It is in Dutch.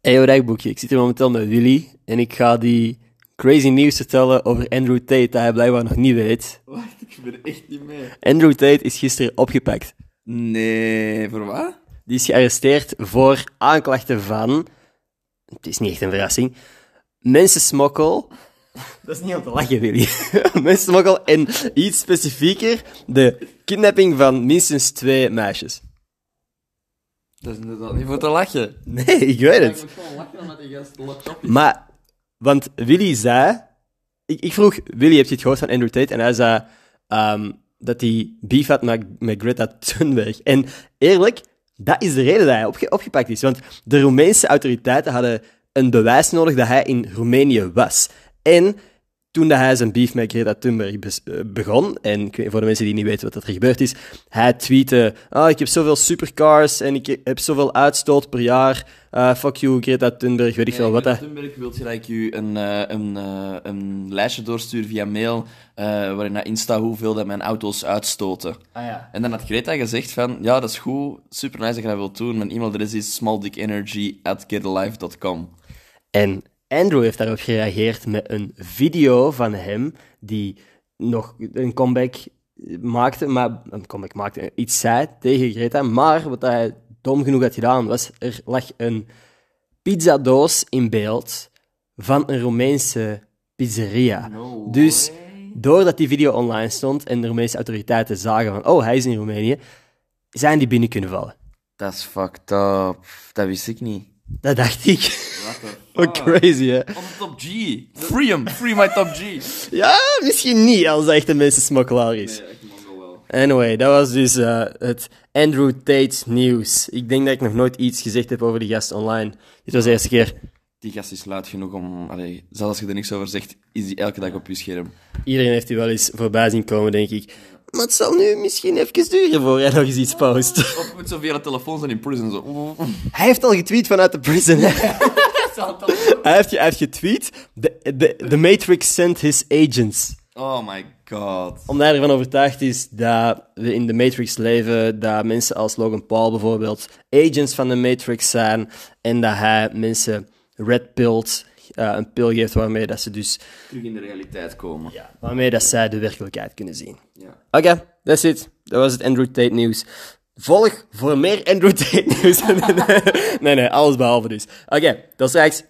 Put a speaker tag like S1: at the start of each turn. S1: Eyo Rijkboekje. Ik zit hier momenteel met Willy en ik ga die crazy nieuws vertellen over Andrew Tate dat hij blijkbaar nog niet weet.
S2: Wacht, ik ben echt niet mee.
S1: Andrew Tate is gisteren opgepakt.
S2: Nee, voor wat?
S1: Die is gearresteerd voor aanklachten van... Het is niet echt een verrassing. Mensensmokkel... Dat is niet om te lachen, Willy. Mensensmokkel en iets specifieker, de kidnapping van minstens twee meisjes.
S2: Dat is inderdaad niet voor te lachen.
S1: Nee, ik weet het.
S2: gewoon lachen met die gast laptop
S1: Maar, want Willy zei... Ik, ik vroeg, Willy, heb je het gehoord van Andrew Tate? En hij zei ehm, dat hij beef had met, met Greta Thunberg. En eerlijk, dat is de reden dat hij opge- opgepakt is. Want de Roemeense autoriteiten hadden een bewijs nodig dat hij in Roemenië was. En toen dat hij zijn beef met Greta Thunberg bes- eh, begon, en ik weet- voor de mensen die niet weten wat er gebeurd is, hij tweette, ah ik heb zoveel supercars en ik heb zoveel uitstoot per jaar, Ah, fuck you Greta Thunberg, weet ik veel wat. dat-
S2: Thunberg wilt je dat ik u een, eh, een, eh, een lijstje doorstuur via mail, eh, waarin dat in staat hoeveel dat mijn auto's uitstoten.
S1: Ah ja.
S2: En dan had Greta gezegd van, ja, dat is goed, super nice dat je dat wilt doen. Mijn e-mailadres is smalldickenergy@getalife.com.
S1: En Andrew heeft daarop gereageerd met een video van hem die nog een comeback maakte, maar een comeback maakte, iets zei tegen Greta, maar wat hij dom genoeg had gedaan was, er lag een pizzadoos in beeld van een Roemeense pizzeria. dus doordat die video online stond en de Roemeense autoriteiten zagen van, oh, hij is in Roemenië, zijn die binnen kunnen vallen.
S2: Dat is fucked up. Dat wist ik niet.
S1: Dat dacht ik.
S2: What the
S1: Wat crazy, hè?
S2: Onze top G. Free him. Free my top G.
S1: Ja, misschien niet, als hij echt een mensensmokkelaar is. Anyway, dat was dus eh, het Andrew Tate nieuws. Ik denk dat ik nog nooit iets gezegd heb over die gast online. Dit was de eerste keer.
S2: Die gast is luid genoeg om... Allee, zelfs als je er niks over zegt, is die elke dag op je scherm.
S1: Iedereen heeft die wel eens voorbij zien komen, denk ik. Maar het zal nu misschien even duren voor hij nog eens iets post.
S2: Of met zo via de telefoons en in prison zo.
S1: Hij heeft al getweet vanuit de prison. hij, heeft, ge- hij heeft getweet. The, the, the Matrix sent his agents.
S2: Oh my god.
S1: Omdat hij ervan overtuigd is dat we in de Matrix leven, dat mensen als Logan Paul bijvoorbeeld agents van de Matrix zijn en dat hij mensen red pilt, eh, een pil geeft waarmee dat ze dus,
S2: Terug in de realiteit komen. Ja.
S1: waarmee dat zij de werkelijkheid kunnen zien. Oké, that's it. Dat was het Andrew Tate nieuws. Volg voor meer Andrew Tate nieuws. nee, nee, alles behalve dus. Oké, tot straks.